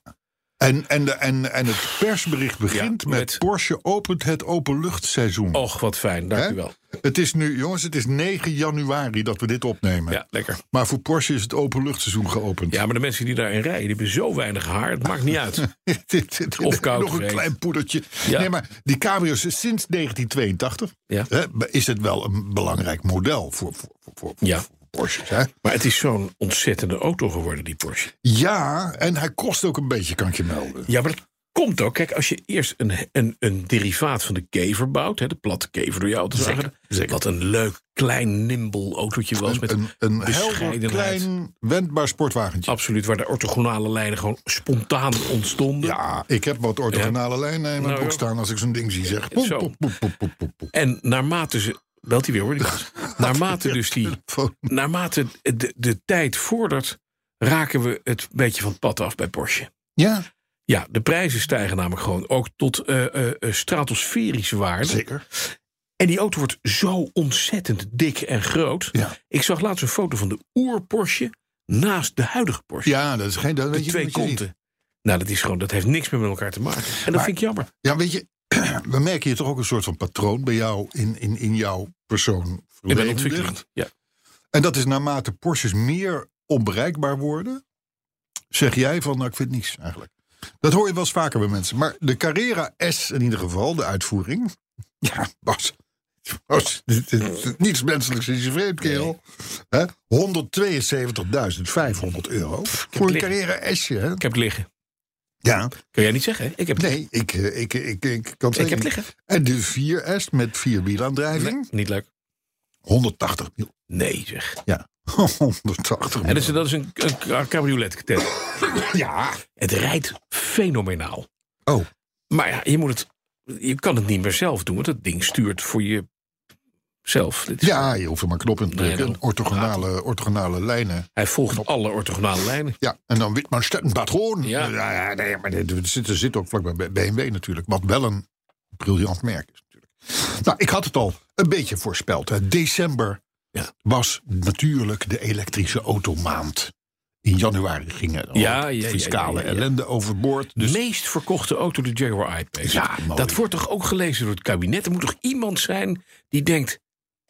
Speaker 3: En, en, de, en, en het persbericht begint
Speaker 2: Ja,
Speaker 3: met,
Speaker 2: met-
Speaker 3: Porsche opent het openluchtseizoen.
Speaker 2: Och, wat fijn. Dank
Speaker 3: Hè?
Speaker 2: u wel.
Speaker 3: Het is nu, jongens, het is 9 januari dat we dit opnemen.
Speaker 2: Ja, lekker.
Speaker 3: Maar voor Porsche is het openluchtseizoen geopend.
Speaker 2: Ja, maar de mensen die daarin rijden, die hebben zo weinig haar. Het maakt niet uit.
Speaker 3: Dit- dit- dit-
Speaker 2: Of koud
Speaker 3: Nog een
Speaker 2: geweest.
Speaker 3: klein poedertje.
Speaker 2: Ja.
Speaker 3: Nee, maar die cabrio's sinds 1982
Speaker 2: Ja.
Speaker 3: hè, is het wel een belangrijk model voor, voor, voor, voor,
Speaker 2: Ja.
Speaker 3: voor Porsches. Hè?
Speaker 2: Maar het is zo'n ontzettende auto geworden, die Porsche.
Speaker 3: Ja, en hij kost ook een beetje, kan ik je melden.
Speaker 2: Ja, maar dat komt ook. Kijk, als je eerst een, een, een derivaat van de kever bouwt, hè, de platte kever door je auto zagen. Wat een leuk, klein, nimble autootje was. Met
Speaker 3: Een, een helder,
Speaker 2: bescheidenheid. Oh.
Speaker 3: klein, wendbaar sportwagentje.
Speaker 2: Absoluut, waar de orthogonale lijnen gewoon spontaan ontstonden.
Speaker 3: Ja, ik heb wat orthogonale lijnen in mijn
Speaker 2: Nou,
Speaker 3: boek
Speaker 2: joh.
Speaker 3: staan als ik zo'n ding zie. Zeg. Poep,
Speaker 2: Zo.
Speaker 3: poep, poep, poep, poep, poep.
Speaker 2: En naarmate ze. Belt hij weer hoor. die gast. Naarmate dus die.
Speaker 3: Telefoon.
Speaker 2: Naarmate de, de tijd vordert, raken we het een beetje van het pad af bij Porsche.
Speaker 3: Ja,
Speaker 2: Ja, de prijzen stijgen namelijk gewoon ook tot eh, eh, eh, stratosferische waarden.
Speaker 3: zeker.
Speaker 2: En die auto wordt zo ontzettend dik en groot.
Speaker 3: Ja.
Speaker 2: Ik zag laatst een foto van de oer-Porsche naast de huidige Porsche.
Speaker 3: Ja, dat is geen... Dat
Speaker 2: de
Speaker 3: weet je
Speaker 2: twee
Speaker 3: wat je ziet.
Speaker 2: konten. Nou, dat, is gewoon, dat heeft niks meer met elkaar te maken. En dat
Speaker 3: Maar-
Speaker 2: vind ik jammer.
Speaker 3: Ja, weet je, we merken hier toch ook een soort van patroon bij jou in, in, in jouw persoon.
Speaker 2: Ik ben
Speaker 3: verlevendigd.
Speaker 2: ontwikkeling. Ja.
Speaker 3: En dat is naarmate Porsches meer onbereikbaar worden, zeg jij van, nou, ik vind niks eigenlijk. Dat hoor je wel eens vaker bij mensen. Maar de Carrera S in ieder geval, de uitvoering. Ja, Bas. Bas dit- dit- dit- niets menselijks is je vreemd, kerel. Hè? 172.500 euro. Voor een
Speaker 2: liggen.
Speaker 3: Carrera S'je, hè?
Speaker 2: Ik heb het liggen.
Speaker 3: Ja.
Speaker 2: Kun jij niet zeggen, hè? Ik heb het
Speaker 3: Nee, ik, eh, ik, ik, ik, ik kan het
Speaker 2: Ik heb
Speaker 3: zeggen.
Speaker 2: het liggen.
Speaker 3: En de 4S met
Speaker 2: Nee,
Speaker 3: vierwielaandrijving?
Speaker 2: niet leuk.
Speaker 3: 180 mil.
Speaker 2: Nee, zeg.
Speaker 3: Ja, 180 mil.
Speaker 2: En dus- dat is, dat is een, een cabriolet test.
Speaker 3: Ja.
Speaker 2: Het rijdt fenomenaal.
Speaker 3: Oh,
Speaker 2: Maar ja, je, moet het, je kan het niet meer zelf doen, want dat ding stuurt voor je zelf. Dit is-
Speaker 3: ja, je hoeft er maar knop in te
Speaker 2: Nee,
Speaker 3: drukken.
Speaker 2: daarom.
Speaker 3: orthogonale, orthogonale lijnen.
Speaker 2: Hij volgt alle orthogonale lijnen.
Speaker 3: Ja, en dan Witman een patroon.
Speaker 2: Ja.
Speaker 3: ja, nee, maar dit- er zit, er zit ook vlakbij bij BMW natuurlijk. Wat wel een briljant merk is natuurlijk. Nou, ik had het al een beetje voorspeld. Hè. December
Speaker 2: Ja.
Speaker 3: was natuurlijk de elektrische automaand. In januari gingen al
Speaker 2: Ja, ja, ja, ja,
Speaker 3: fiscale
Speaker 2: ja, ja.
Speaker 3: ellende overboord.
Speaker 2: De
Speaker 3: Dus
Speaker 2: meest verkochte auto, de Jaguar I-Pace.
Speaker 3: Ja, mooi.
Speaker 2: dat wordt toch ook gelezen door het kabinet? Er moet toch iemand zijn die denkt...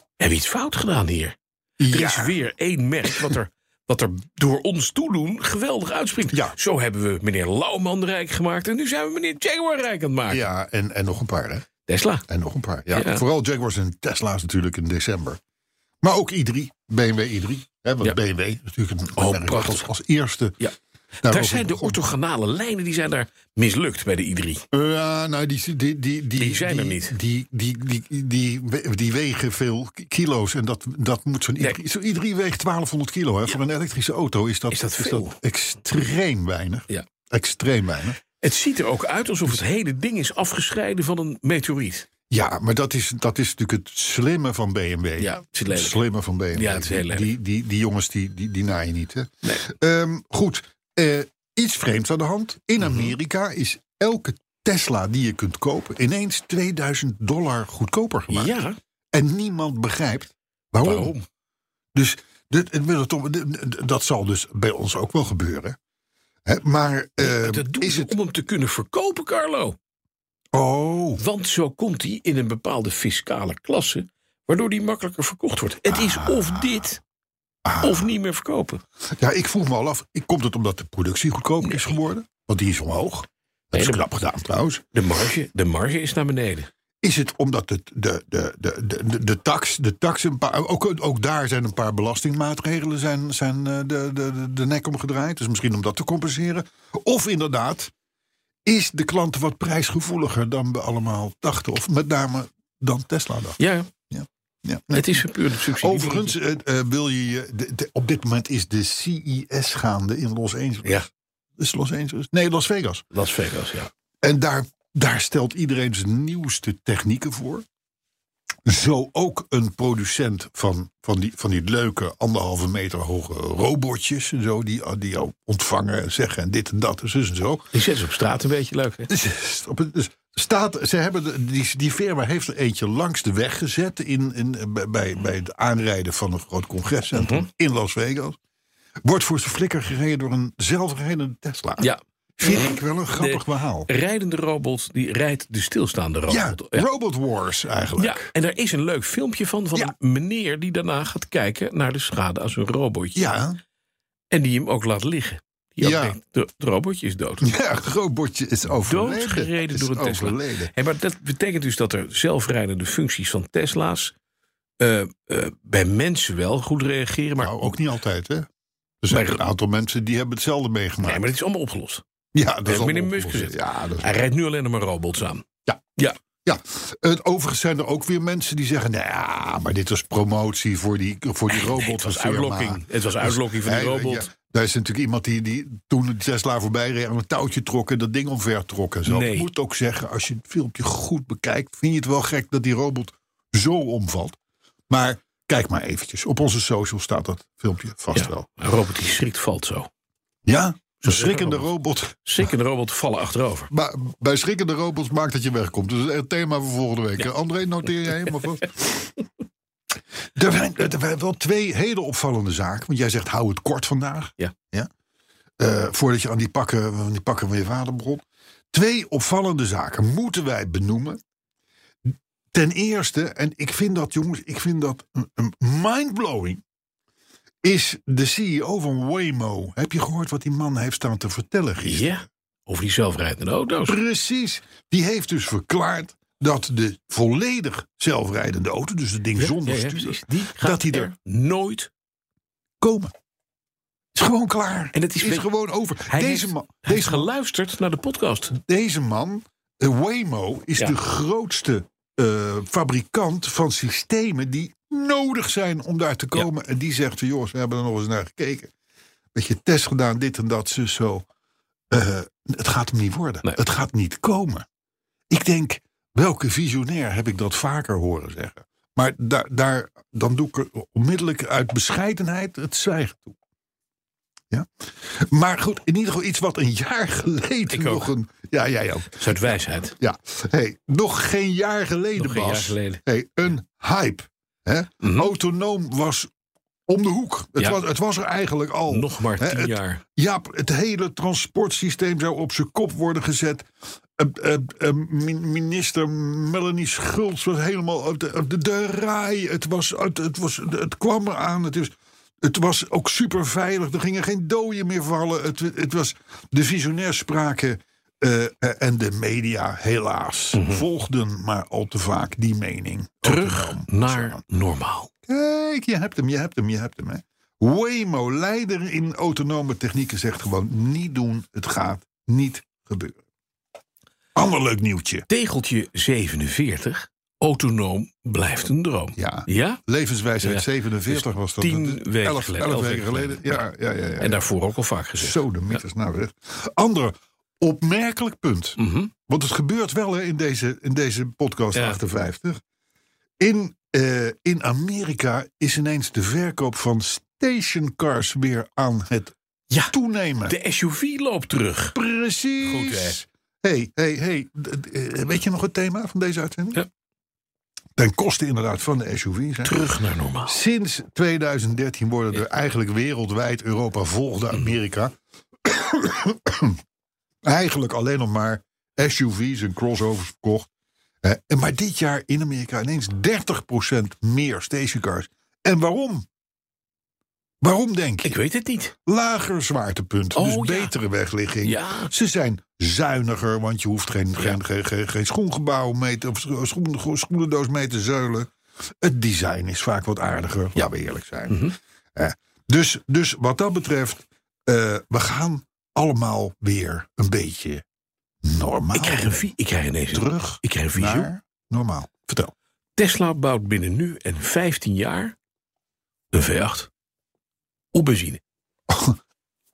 Speaker 2: hebben we iets fout gedaan hier? Er is weer één merk wat er, wat er door ons toedoen geweldig uitspringt.
Speaker 3: Ja.
Speaker 2: Zo hebben we meneer Lauwman rijk gemaakt... en nu zijn we meneer Jaguar rijk aan het maken.
Speaker 3: ja en, en nog een paar, hè?
Speaker 2: Tesla.
Speaker 3: En nog een paar. Ja.
Speaker 2: Ja.
Speaker 3: Vooral Jaguars en Tesla's natuurlijk in december. Maar ook i3, BMW i3. Hè, want
Speaker 2: Ja.
Speaker 3: BMW is natuurlijk een
Speaker 2: Oh,
Speaker 3: merk dat
Speaker 2: prachtig.
Speaker 3: als, als eerste.
Speaker 2: Ja.
Speaker 3: daarover
Speaker 2: Daar zijn de
Speaker 3: begon.
Speaker 2: orthogonale lijnen die zijn daar mislukt bij de i3.
Speaker 3: Ja, nou, die, die, die, die,
Speaker 2: Die zijn er
Speaker 3: die-
Speaker 2: niet.
Speaker 3: Die, die, die, die, we- die wegen veel ki- kilo's. En dat, dat moet zo'n i3.
Speaker 2: Nee.
Speaker 3: Zo'n i3 weegt 1200 kilo. Hè. Voor een elektrische auto is dat,
Speaker 2: Is dat veel?
Speaker 3: extreem weinig.
Speaker 2: Ja.
Speaker 3: Extreem weinig.
Speaker 2: Het ziet er ook uit alsof het hele ding is afgescheiden van een meteoriet.
Speaker 3: Ja, maar dat is, dat is natuurlijk het slimme van BMW.
Speaker 2: Ja, het is lelijk.
Speaker 3: slimme van BMW.
Speaker 2: Ja, het is heel lelijk.
Speaker 3: die, die, die jongens, die, die, die naaien niet. Hè? Ehm, goed, eh, iets vreemds aan de hand. In
Speaker 2: Mhm.
Speaker 3: Amerika is elke Tesla die je kunt kopen... ineens 2000 dollar goedkoper gemaakt.
Speaker 2: Ja,
Speaker 3: En niemand begrijpt waarom.
Speaker 2: waarom?
Speaker 3: Dus dit, het wil het om- d- d- dat zal dus bij ons ook wel gebeuren. Hè, maar eh,
Speaker 2: Dat doen
Speaker 3: is
Speaker 2: ze
Speaker 3: het...
Speaker 2: om hem te kunnen verkopen, Carlo.
Speaker 3: Oh,
Speaker 2: Want zo komt hij in een bepaalde fiscale klasse... waardoor die makkelijker verkocht wordt. Het is
Speaker 3: Ah.
Speaker 2: of dit, of niet meer verkopen.
Speaker 3: ja, ik vroeg me al af. Komt het omdat de productie goedkoper is geworden? Want die is omhoog. Dat is
Speaker 2: Nee, de-
Speaker 3: knap gedaan trouwens.
Speaker 2: De marge, de marge is naar beneden.
Speaker 3: Is het omdat het de, de, de, de, de, de tax, de tax een paar, ook, ook daar zijn een paar belastingmaatregelen zijn, zijn eh, de, de, de nek omgedraaid. Dus misschien om dat te compenseren. Of inderdaad, is de klant wat prijsgevoeliger dan we allemaal dachten. Of met name dan Tesla dacht.
Speaker 2: Ja,
Speaker 3: Ja, nee.
Speaker 2: het is een puur subsidie.
Speaker 3: Overigens eh, eh, wil je je. de- de- op dit moment is de CES gaande in Los Angeles.
Speaker 2: Ja.
Speaker 3: Is Los Angeles? Nee, Las Vegas.
Speaker 2: Las Vegas, ja.
Speaker 3: En daar, daar stelt iedereen zijn nieuwste technieken voor. Zo ook een producent van, van, die, van die leuke anderhalve meter hoge robotjes. En zo, die, die jou ontvangen en zeggen en dit en dat en zus en zo.
Speaker 2: Die zetten ze op straat een beetje leuk, hè?
Speaker 3: Dus, op het- dus staat, ze hebben de- die, die firma heeft er eentje langs de weg gezet in, in, bij- bij, bij het aanrijden van een groot congrescentrum
Speaker 2: Mhm.
Speaker 3: in Las Vegas. Wordt voor zijn flikker gereden door een zelfrijdende Tesla.
Speaker 2: Ja.
Speaker 3: Vind ik wel een grappig
Speaker 2: De
Speaker 3: verhaal.
Speaker 2: rijdende robot, die rijdt de stilstaande
Speaker 3: Ja,
Speaker 2: robot.
Speaker 3: Robot Wars eigenlijk.
Speaker 2: Ja, en daar is een leuk filmpje van, van
Speaker 3: Ja.
Speaker 2: een meneer die daarna gaat kijken naar de schade aan zijn robotje.
Speaker 3: Ja,
Speaker 2: En die hem ook laat liggen. Die ook
Speaker 3: Ja.
Speaker 2: denkt, de, het robotje is dood.
Speaker 3: ja, het robotje is overleden.
Speaker 2: Doodgereden
Speaker 3: Is
Speaker 2: door een Tesla.
Speaker 3: overleden.
Speaker 2: Hé, maar dat betekent dus dat er zelfrijdende functies van Tesla's eh, eh, bij mensen wel goed reageren, maar,
Speaker 3: Nou, ook niet altijd, hè? Er zijn
Speaker 2: Maar-
Speaker 3: een aantal mensen die hebben hetzelfde meegemaakt.
Speaker 2: nee, maar het is allemaal opgelost.
Speaker 3: ja, dat
Speaker 2: heeft
Speaker 3: allemaal
Speaker 2: meneer Musk
Speaker 3: opgelost.
Speaker 2: gezegd.
Speaker 3: Ja, dat is
Speaker 2: Hij rijdt nu alleen nog maar robots aan.
Speaker 3: Ja, het, overigens zijn er ook weer mensen die zeggen... nou ja, maar dit was promotie voor die, voor die robot.
Speaker 2: Nee, het was
Speaker 3: van firma." Dus
Speaker 2: uitlokking. Het was uitlokking van die
Speaker 3: Hij-
Speaker 2: robot.
Speaker 3: ja, daar is natuurlijk iemand die, die toen de Tesla voorbij reed... aan een touwtje trok en dat ding omver trok en zo.
Speaker 2: Nee.
Speaker 3: Ik moet ook zeggen, als je het filmpje goed bekijkt... vind je het wel gek dat die robot zo omvalt. Maar kijk maar eventjes. Op onze social staat dat filmpje vast
Speaker 2: Ja,
Speaker 3: wel.
Speaker 2: Een robot die schrikt valt zo.
Speaker 3: Ja, een
Speaker 2: zeggen
Speaker 3: schrikkende
Speaker 2: robot.
Speaker 3: robot.
Speaker 2: Schrikkende robot vallen achterover.
Speaker 3: Maar bij schrikkende robots maakt dat je wegkomt. Dus het thema voor volgende week. André, noteer jij helemaal vast. Er zijn, er zijn wel twee hele opvallende zaken. Want jij zegt, hou het kort vandaag.
Speaker 2: Ja.
Speaker 3: ja? Eh, voordat je aan die pakken, aan die pakken van je vader begon. Twee opvallende zaken moeten wij benoemen. Ten eerste, en ik vind dat jongens, ik vind dat een- een mindblowing. Is de CEO van Waymo. Heb je gehoord wat die man heeft staan te vertellen gisteren?
Speaker 2: Ja, over die zelfrijdende auto's.
Speaker 3: Precies. Die heeft dus verklaard dat de volledig zelfrijdende auto, dus het ding
Speaker 2: Ja,
Speaker 3: zonder
Speaker 2: ja, ja,
Speaker 3: stuur,
Speaker 2: precies. die gaat
Speaker 3: dat die er-
Speaker 2: nooit.
Speaker 3: komen. Het is gewoon klaar.
Speaker 2: En het is
Speaker 3: Het is
Speaker 2: weet-
Speaker 3: gewoon over.
Speaker 2: Hij
Speaker 3: Deze,
Speaker 2: heeft,
Speaker 3: man,
Speaker 2: hij heeft
Speaker 3: deze, man-
Speaker 2: geluisterd naar de podcast.
Speaker 3: deze man, eh, Waymo, is
Speaker 2: Ja.
Speaker 3: de grootste eh, fabrikant van systemen die nodig zijn om daar te komen. En die zegt van, jongens, we hebben er nog eens naar gekeken. Weet je, test gedaan, dit en dat, zus, zo. Eh, het gaat hem niet worden.
Speaker 2: Nee.
Speaker 3: Het gaat niet komen. Ik denk, welke visionair heb ik dat vaker horen zeggen? Maar daar, daar, dan doe ik er onmiddellijk uit bescheidenheid het zwijgen toe. Ja? Maar goed, in ieder geval iets wat een jaar geleden
Speaker 2: Ik ook.
Speaker 3: nog een. Ja, jij ook.
Speaker 2: Zuid wijsheid.
Speaker 3: Ja. Hey, nog geen jaar geleden,
Speaker 2: Nog geen
Speaker 3: Bas.
Speaker 2: jaar geleden.
Speaker 3: Hey, een hype. Hè?
Speaker 2: Mhm.
Speaker 3: Autonoom was om de hoek. Het,
Speaker 2: Ja.
Speaker 3: was, het was er eigenlijk al.
Speaker 2: Nog maar
Speaker 3: Oh. Hè,
Speaker 2: tien
Speaker 3: het-
Speaker 2: jaar.
Speaker 3: Ja, het hele transportsysteem zou op zijn kop worden gezet. Eh, eh, eh, min- minister Melanie Schultz was helemaal op de, op de, de rij. Het, was, het, het, was, het kwam eraan. Het, is, het was ook super veilig. Er gingen geen doden meer vallen. Het, het was, de visionairs spraken. eh, eh, en de media, helaas, volgden maar al te vaak die mening. Autonoom.
Speaker 2: Naar normaal.
Speaker 3: Kijk, je hebt hem, je hebt hem, je hebt hem. Hè. Waymo, leider in autonome technieken, zegt gewoon niet doen. Het gaat niet gebeuren. Ander leuk nieuwtje.
Speaker 2: Tegeltje 47. Autonoom blijft een droom.
Speaker 3: Ja.
Speaker 2: Ja?
Speaker 3: Levenswijsheid
Speaker 2: Ja. Dus
Speaker 3: 47 was dat.
Speaker 2: tien
Speaker 3: Dat is
Speaker 2: weken
Speaker 3: elf-
Speaker 2: geleden,
Speaker 3: elf
Speaker 2: elf
Speaker 3: weken
Speaker 2: weken
Speaker 3: geleden. Ja, ja, ja. ja.
Speaker 2: En daarvoor ook al vaak gezegd.
Speaker 3: Zo de mieters nou zeg. Andere Opmerkelijk punt.
Speaker 2: Mhm.
Speaker 3: Want het gebeurt wel hè, in, deze, in deze podcast
Speaker 2: Ja.
Speaker 3: 58. In, eh, in Amerika is ineens de verkoop van stationcars weer aan het
Speaker 2: Ja.
Speaker 3: toenemen.
Speaker 2: De SUV loopt terug.
Speaker 3: Precies.
Speaker 2: Goed,
Speaker 3: hey, hey, hey. d- d- eh, Weet je nog het thema van deze uitzending?
Speaker 2: Ja.
Speaker 3: Ten koste inderdaad van de SUV's. hè.
Speaker 2: Terug naar normaal.
Speaker 3: Sinds 2013 worden er eigenlijk wereldwijd, Europa volgde
Speaker 2: Mhm.
Speaker 3: Amerika, eigenlijk alleen nog maar SUV's en crossovers verkocht. Eh, en maar dit jaar in Amerika ineens 30% meer stationcars. En waarom? Waarom denk je?
Speaker 2: Ik weet het niet.
Speaker 3: Lager zwaartepunt, dus
Speaker 2: Oh, ja.
Speaker 3: betere wegligging.
Speaker 2: Ja.
Speaker 3: Ze zijn zuiniger, want je hoeft geen, geen, geen, geen, geen schoengebouw mee te, of scho- schoen- schoenendoos mee te zeulen. Het design is vaak wat aardiger, ja. laten we eerlijk zijn.
Speaker 2: Mhm.
Speaker 3: Eh, dus, dus wat dat betreft, eh, we gaan allemaal weer een beetje normaal
Speaker 2: Ik krijg, een vi- ik krijg ineens een,
Speaker 3: terug
Speaker 2: ik krijg een visioen.
Speaker 3: naar normaal. Vertel.
Speaker 2: Tesla bouwt binnen nu en 15 jaar een V8. Op benzine.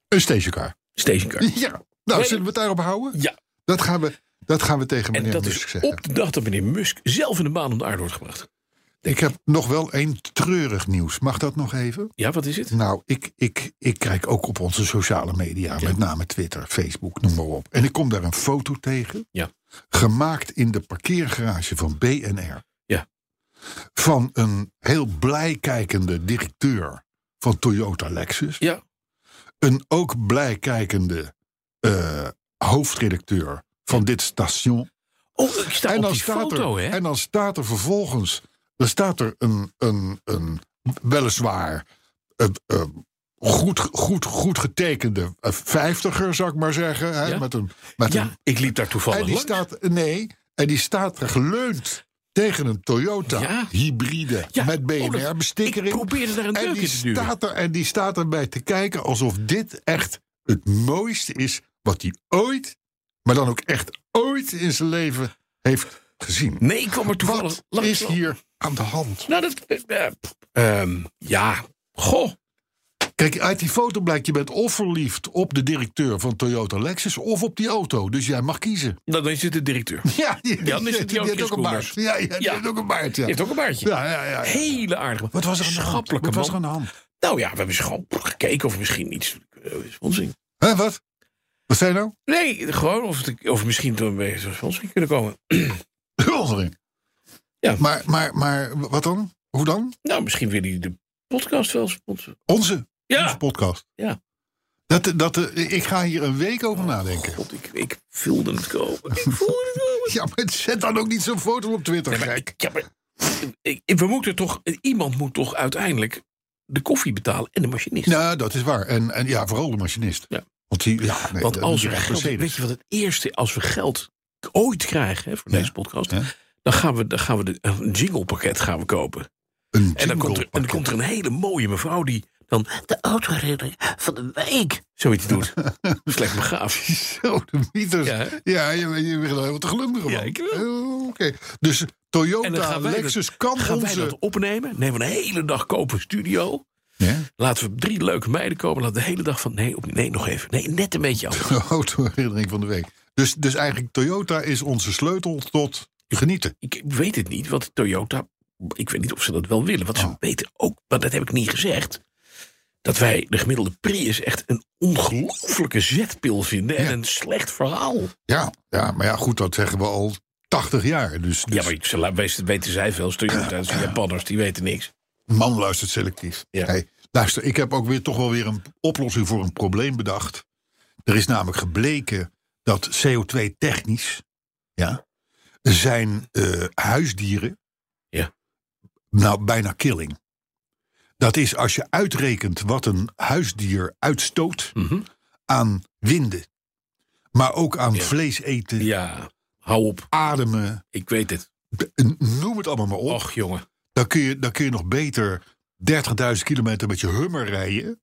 Speaker 3: Een stationcar.
Speaker 2: Stationcar.
Speaker 3: Ja, nou zullen we het daarop houden?
Speaker 2: Ja.
Speaker 3: Dat gaan we, dat gaan we tegen
Speaker 2: En
Speaker 3: meneer
Speaker 2: dat
Speaker 3: Musk
Speaker 2: is
Speaker 3: zeggen.
Speaker 2: op de dag dat meneer Musk zelf in de baan om de aarde wordt gebracht.
Speaker 3: Ik heb nog wel één treurig nieuws. Mag dat nog even?
Speaker 2: Ja, wat is het?
Speaker 3: Nou, ik, ik, ik kijk ook op onze sociale media, met name Twitter, Facebook, noem maar op. En ik kom daar een foto tegen,
Speaker 2: Ja.
Speaker 3: gemaakt in de parkeergarage van BNR.
Speaker 2: Ja.
Speaker 3: Van een heel blij kijkende directeur van Toyota Lexus.
Speaker 2: Ja.
Speaker 3: Een ook blij kijkende eh, hoofdredacteur van dit station.
Speaker 2: Oh, ik sta op die foto,
Speaker 3: er,
Speaker 2: hè?
Speaker 3: En dan staat er vervolgens. Dan staat er een, een, een weliswaar eh, eh, goed, goed, goed getekende eh, vijftiger, zou ik maar zeggen. Hè,
Speaker 2: Ja.
Speaker 3: Met een, met
Speaker 2: Ja,
Speaker 3: een,
Speaker 2: ik liep daar toevallig
Speaker 3: en die
Speaker 2: langs.
Speaker 3: staat, nee, en die staat er geleund tegen een Toyota
Speaker 2: Ja.
Speaker 3: hybride
Speaker 2: Ja,
Speaker 3: met
Speaker 2: oh, dat- ik
Speaker 3: BNR-bestikkering.
Speaker 2: probeerde daar een
Speaker 3: en
Speaker 2: deuk
Speaker 3: die
Speaker 2: in te duwen.
Speaker 3: staat er En die staat erbij te kijken alsof dit echt het mooiste is wat hij ooit, maar dan ook echt ooit in zijn leven heeft gezien.
Speaker 2: Nee, Nou, ik kwam er toevallig
Speaker 3: Wat
Speaker 2: langs.
Speaker 3: is hier aan de hand?
Speaker 2: Nou, dat... eh, eh, pff, ehm, ja, goh.
Speaker 3: Kijk, uit die foto blijkt je bent of verliefd op de directeur van Toyota Lexus of op die auto. Dus jij mag kiezen.
Speaker 2: Dan is het de directeur. Die
Speaker 3: Ja, die,
Speaker 2: Dan is het die
Speaker 3: heeft ook een baard.
Speaker 2: Jonkheerskoeners.
Speaker 3: Ja, ja, die
Speaker 2: Ja.
Speaker 3: heeft ook een baard. Ja,
Speaker 2: heeft ook een baardje.
Speaker 3: ja, ja. ja, ja.
Speaker 2: Hele aardige.
Speaker 3: Wat was er aan de hand?
Speaker 2: Schappelijke
Speaker 3: Wat was er
Speaker 2: man.
Speaker 3: aan de hand?
Speaker 2: Nou ja, we hebben eens gewoon gekeken of misschien iets... eh, sponsoring.
Speaker 3: Hè, wat? Wat zei je nou?
Speaker 2: Nee, gewoon of, het, of misschien door een sponsoring kunnen komen.
Speaker 3: Sponsoring.
Speaker 2: Ja.
Speaker 3: Oh, Maar, maar, maar wat dan? Hoe dan?
Speaker 2: Nou, misschien wil hij de podcast wel sponsoren.
Speaker 3: Onze, onze
Speaker 2: Ja.
Speaker 3: podcast.
Speaker 2: Ja.
Speaker 3: Dat, dat, eh, ik ga hier een week over nadenken.
Speaker 2: God, ik, ik voelde het komen. Ik voelde het komen.
Speaker 3: Ja, maar zet dan ook niet zo'n foto op Twitter,
Speaker 2: Maar
Speaker 3: gek.
Speaker 2: ik- ja, maar, ik- ik- we moeten toch... Iemand moet toch uiteindelijk de koffie betalen en de machinist.
Speaker 3: Nou, dat is waar. En, en ja, vooral de machinist.
Speaker 2: Ja.
Speaker 3: Want, die, ja, nee,
Speaker 2: Want
Speaker 3: dat
Speaker 2: als
Speaker 3: moet
Speaker 2: er
Speaker 3: je echt
Speaker 2: geld,
Speaker 3: Mercedes.
Speaker 2: weet je wat het eerste, als we geld ooit krijgen hè, voor
Speaker 3: Ja.
Speaker 2: deze podcast,
Speaker 3: Ja.
Speaker 2: dan gaan we, dan gaan we de, een jinglepakket gaan we kopen.
Speaker 3: Een
Speaker 2: En dan komt, er, en dan
Speaker 3: jinglepakket.
Speaker 2: komt er een hele mooie mevrouw die dan de autoherinnering van de week zoiets doet. Slecht begaafd.
Speaker 3: Zo, de mieters.
Speaker 2: Ja,
Speaker 3: Ja,
Speaker 2: hè?
Speaker 3: je, je, je begint er helemaal te glunderen van.
Speaker 2: Ja, ik wel.
Speaker 3: Eh, Oké. Dus
Speaker 2: En dan
Speaker 3: Toyota,
Speaker 2: gaan wij dat-
Speaker 3: Lexus kan
Speaker 2: Gaan wij
Speaker 3: onze...
Speaker 2: dat opnemen? Nemen we een hele dag kopen studio?
Speaker 3: Ja?
Speaker 2: Laten we drie leuke meiden komen. Laten we de hele dag van nee, op, nee, nog even. Nee, net een beetje af.
Speaker 3: De autoherinnering van de week. Dus, dus eigenlijk Toyota is onze sleutel tot genieten.
Speaker 2: Ik weet het niet, want Toyota, ik weet niet of ze dat wel willen. Want ze
Speaker 3: Oh.
Speaker 2: weten ook, maar dat heb ik niet gezegd, dat wij de gemiddelde Prius echt een ongelooflijke zetpil vinden en
Speaker 3: Ja.
Speaker 2: een slecht verhaal.
Speaker 3: Ja, ja, maar ja, goed, dat zeggen we al 80 jaar. Dus, dus
Speaker 2: Ja, maar ze la- wees- weten zij veel. Toyota, dat zijn Japanners, die weten niks.
Speaker 3: man luistert selectief.
Speaker 2: Ja.
Speaker 3: Hey, luister, ik heb ook weer toch wel weer een oplossing voor een probleem bedacht. Er is namelijk gebleken dat CO2-technisch ja, zijn eh, huisdieren
Speaker 2: Ja.
Speaker 3: nou bijna killing. Dat is als je uitrekent wat een huisdier uitstoot
Speaker 2: Mhm.
Speaker 3: aan winden, maar ook aan
Speaker 2: Ja.
Speaker 3: vlees eten,
Speaker 2: Ja, hou op.
Speaker 3: ademen,
Speaker 2: Ik weet het.
Speaker 3: b- noem het allemaal maar op.
Speaker 2: Och, jongen.
Speaker 3: Dan kun, je, dan kun je nog beter 30.000 kilometer met je hummer rijden.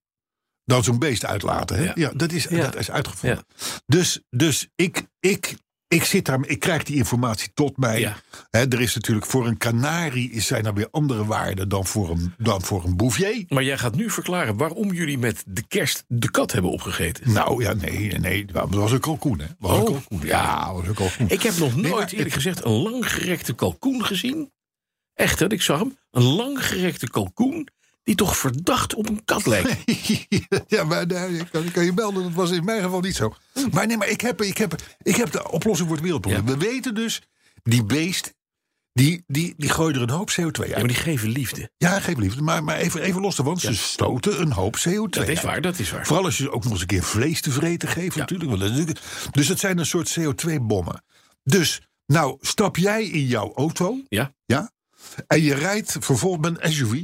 Speaker 3: dan zo'n beest uitlaten. Hè? Ja.
Speaker 2: Ja.
Speaker 3: dat, is,
Speaker 2: Ja.
Speaker 3: dat is uitgevonden. Dus, dus ik, ik Ik, zit daar, ik krijg die informatie tot mij.
Speaker 2: Ja.
Speaker 3: Hè, er is natuurlijk voor een kanarie is- zijn er weer andere waarden dan voor een, dan voor een bouvier.
Speaker 2: Maar jij gaat nu verklaren waarom jullie met de kerst de kat hebben opgegeten.
Speaker 3: Nou ja, nee, nee, dat was een kalkoen. Hè. Was een
Speaker 2: Oh,
Speaker 3: kalkoen. Ja, was een kalkoen.
Speaker 2: Ik heb nog
Speaker 3: Nee,
Speaker 2: nooit,
Speaker 3: maar
Speaker 2: eerlijk gezegd, een langgerekte kalkoen gezien. Echt, hè, ik zag hem. Een langgerekte kalkoen die toch verdacht op een kat lijkt.
Speaker 3: ja, maar nee, ik kan, ik kan je melden, dat was in mijn geval niet zo. Maar nee, maar ik heb, ik heb, ik heb de oplossing voor het wereldprobleem. We weten dus, die beest, die, die, die gooit er een hoop CO2
Speaker 2: Ja, maar
Speaker 3: uit.
Speaker 2: die geven liefde.
Speaker 3: Ja, geef liefde, maar, maar even, even los daarvan. Ze stoten een hoop CO2
Speaker 2: Dat is
Speaker 3: uit.
Speaker 2: waar, dat is waar.
Speaker 3: Vooral als je ze ook nog eens een keer vlees te vreten geeft, natuurlijk. Want dat is natuurlijk- Dus het zijn een soort CO2-bommen. Dus, nou, stap jij in jouw auto.
Speaker 2: Ja.
Speaker 3: ja en je rijdt vervolgens met een SUV.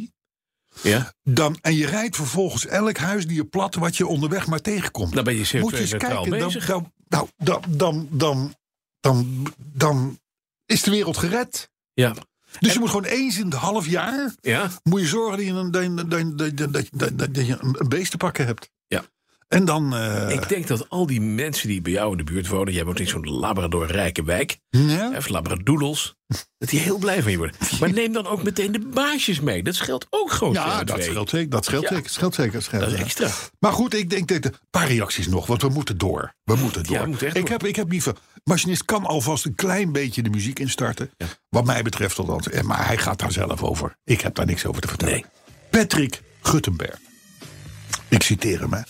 Speaker 2: Ja.
Speaker 3: Dan, en je rijdt vervolgens elk huisdier plat wat je onderweg maar tegenkomt.
Speaker 2: Dan ben Nou, je CO2
Speaker 3: Moet je eens
Speaker 2: neutraal
Speaker 3: kijken, dan,
Speaker 2: bezig.
Speaker 3: dan, nou, dan, dan, dan, dan, dan is de wereld gered.
Speaker 2: Ja.
Speaker 3: Dus je moet gewoon eens in het half jaar...
Speaker 2: Ja.
Speaker 3: moet je zorgen dat je een, dat je- dat je- dat je- dat je- dat je een beest te pakken hebt.
Speaker 2: Ja.
Speaker 3: En dan... eh,
Speaker 2: Ik denk dat al die mensen die bij jou in de buurt wonen, jij woont in zo'n Labrador-rijke wijk,
Speaker 3: ja?
Speaker 2: hè, of Labradoodles, dat die heel blij van je worden. Maar neem dan ook meteen de baasjes mee. Dat scheelt ook gewoon.
Speaker 3: Ja,
Speaker 2: CO2.
Speaker 3: dat scheelt zeker. Dat scheelt
Speaker 2: Ja.
Speaker 3: zeker. scheelt zeker, dat scheelt
Speaker 2: Dat is
Speaker 3: zeker.
Speaker 2: extra.
Speaker 3: Maar goed, ik denk dat een paar reacties nog, want we moeten door. We moeten door.
Speaker 2: Ja, we moeten echt
Speaker 3: ik,
Speaker 2: door.
Speaker 3: heb, ik heb liever. Machinist kan alvast een klein beetje de muziek instarten. Wat mij betreft althans. Eh, Maar hij gaat daar zelf over. Ik heb daar niks over te vertellen.
Speaker 2: Nee.
Speaker 3: Patrick Guttenberg. Ik citeer hem, hè.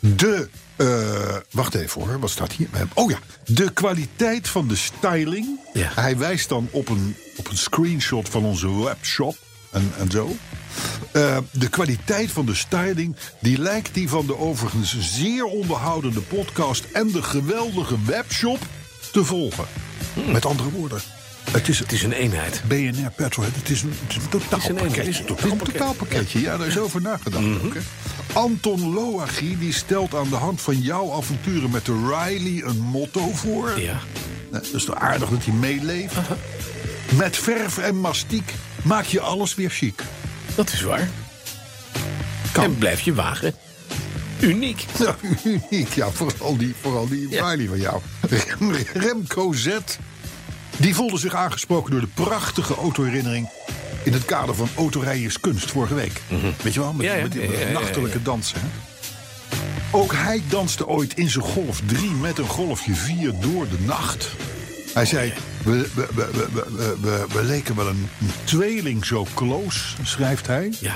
Speaker 3: De. eh, wacht even hoor, wat staat hier? Oh ja, de kwaliteit van de styling.
Speaker 2: Ja.
Speaker 3: Hij wijst dan op een, op een screenshot van onze webshop en, en zo. Eh, de kwaliteit van de styling die lijkt die van de overigens zeer onderhoudende podcast en de geweldige webshop te volgen. Met andere woorden, Hmm. het is
Speaker 2: Het is een eenheid.
Speaker 3: BNR Petrol. Het is een, het is een totaal
Speaker 2: een
Speaker 3: pakketje.
Speaker 2: eenheid.
Speaker 3: Het is een totaal
Speaker 2: pakket.
Speaker 3: pakketje. Ja, Mhm. daar is over nagedacht ook, hè. Anton Loachi die stelt aan de hand van jouw avonturen met de Riley een motto voor.
Speaker 2: Ja.
Speaker 3: Nou, dat is toch aardig dat hij meeleeft. Met verf en mastiek maak je alles weer chic.
Speaker 2: Dat is waar.
Speaker 3: Kan.
Speaker 2: En blijf je wagen. Uniek.
Speaker 3: Nou, uniek. Ja, vooral die, vooral die Riley van jou. Rem- Remco Z. Die voelde zich aangesproken door de prachtige autoherinnering... in het kader van Autorijden is kunst vorige week. Weet je wel? Met,
Speaker 2: Mhm. Ja, ja.
Speaker 3: met die
Speaker 2: Ja, ja, ja, ja.
Speaker 3: nachtelijke dansen. hè? Ook hij danste ooit in zijn Golf 3 met een Golfje 4 door de nacht. Hij zei, we, we, we, we, we, we, we leken wel een, een tweeling zo close, schrijft hij.
Speaker 2: Ja.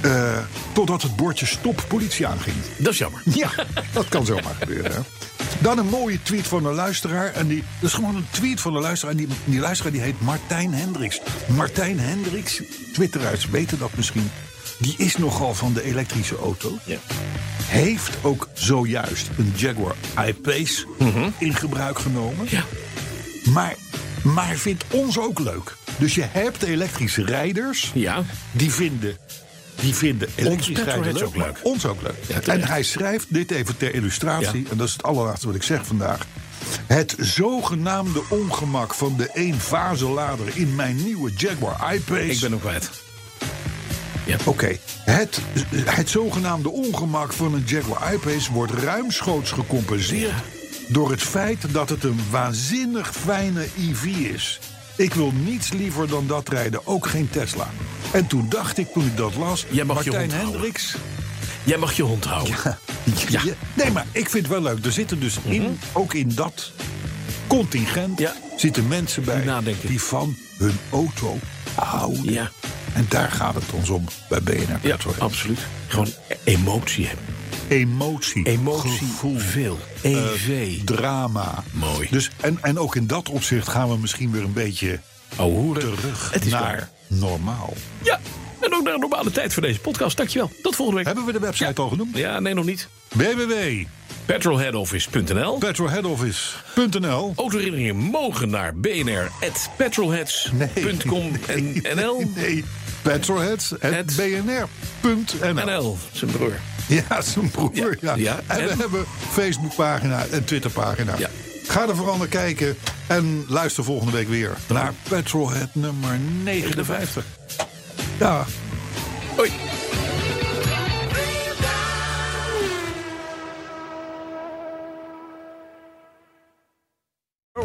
Speaker 3: Eh, totdat het bordje stop politie aanging.
Speaker 2: Dat is jammer.
Speaker 3: Ja, dat kan zomaar gebeuren. hè. Dan een mooie tweet van een luisteraar. En die, dat is gewoon een tweet van een luisteraar. En die, die luisteraar die heet Martijn Hendricks. Martijn Hendricks, twitteraars weten dat misschien. Die is nogal van de elektrische auto.
Speaker 2: Ja.
Speaker 3: Heeft ook zojuist een Jaguar I-Pace in gebruik genomen.
Speaker 2: Mhm. Ja.
Speaker 3: Maar, maar vindt ons ook leuk. Dus je hebt elektrische rijders
Speaker 2: Ja.
Speaker 3: die vinden, die vinden elektrisch
Speaker 2: petrolheads
Speaker 3: rijden leuk,
Speaker 2: ook leuk.
Speaker 3: maar Ons ook leuk. en
Speaker 2: terecht.
Speaker 3: hij schrijft, dit even ter illustratie, en dat is het allerlaatste wat ik zeg vandaag. Het zogenaamde ongemak van de één-fase-lader in mijn nieuwe Jaguar I-Pace.
Speaker 2: Ik ben ook kwijt.
Speaker 3: Oké, het, het zogenaamde ongemak van een Jaguar I-Pace wordt ruimschoots gecompenseerd door het feit dat het een waanzinnig fijne EV is. Ik wil niets liever dan dat rijden, ook geen Tesla. En toen dacht ik, toen ik dat las,
Speaker 2: Jij mag je
Speaker 3: Martijn
Speaker 2: hond houden.
Speaker 3: Hendricks.
Speaker 2: Jij mag je hond houden. Ja. Mhm.
Speaker 3: Ja, Nee, maar ik vind het wel leuk. Er zitten dus in, ook in dat contingent
Speaker 2: Ja.
Speaker 3: zitten mensen bij
Speaker 2: Nadenken.
Speaker 3: die van hun auto houden.
Speaker 2: Ja.
Speaker 3: En daar gaat het ons om bij BNR.
Speaker 2: Ja,
Speaker 3: Petrolhead.
Speaker 2: absoluut. Gewoon emotie hebben.
Speaker 3: Emotie.
Speaker 2: Emotie.
Speaker 3: Gevoel. Eh,
Speaker 2: Veel. E EV.
Speaker 3: Drama.
Speaker 2: Mooi.
Speaker 3: Dus, en, en ook in dat opzicht gaan we misschien weer een beetje
Speaker 2: Ouwe hoeren.
Speaker 3: terug
Speaker 2: Het is
Speaker 3: naar
Speaker 2: waar.
Speaker 3: normaal.
Speaker 2: Ja. En ook naar een normale tijd voor deze podcast. Dankjewel. Tot volgende week.
Speaker 3: Hebben we de website al genoemd?
Speaker 2: Ja, nee, nog niet.
Speaker 3: www.petrolheadoffice.nl
Speaker 2: Petrolheadoffice.nl. Autoherinneringen mogen naar bnr.petrolheads.com en nl.
Speaker 3: Nee, petrolheads.bnr.nl
Speaker 2: NL, zijn broer.
Speaker 3: Ja, zijn broer. Ja,
Speaker 2: Ja, ja.
Speaker 3: En we
Speaker 2: En?
Speaker 3: hebben Facebookpagina en Twitterpagina.
Speaker 2: Ja.
Speaker 3: Ga er vooral naar kijken en luister volgende week weer naar Petrolhead nummer 59. Ja.
Speaker 2: Hoi.
Speaker 5: War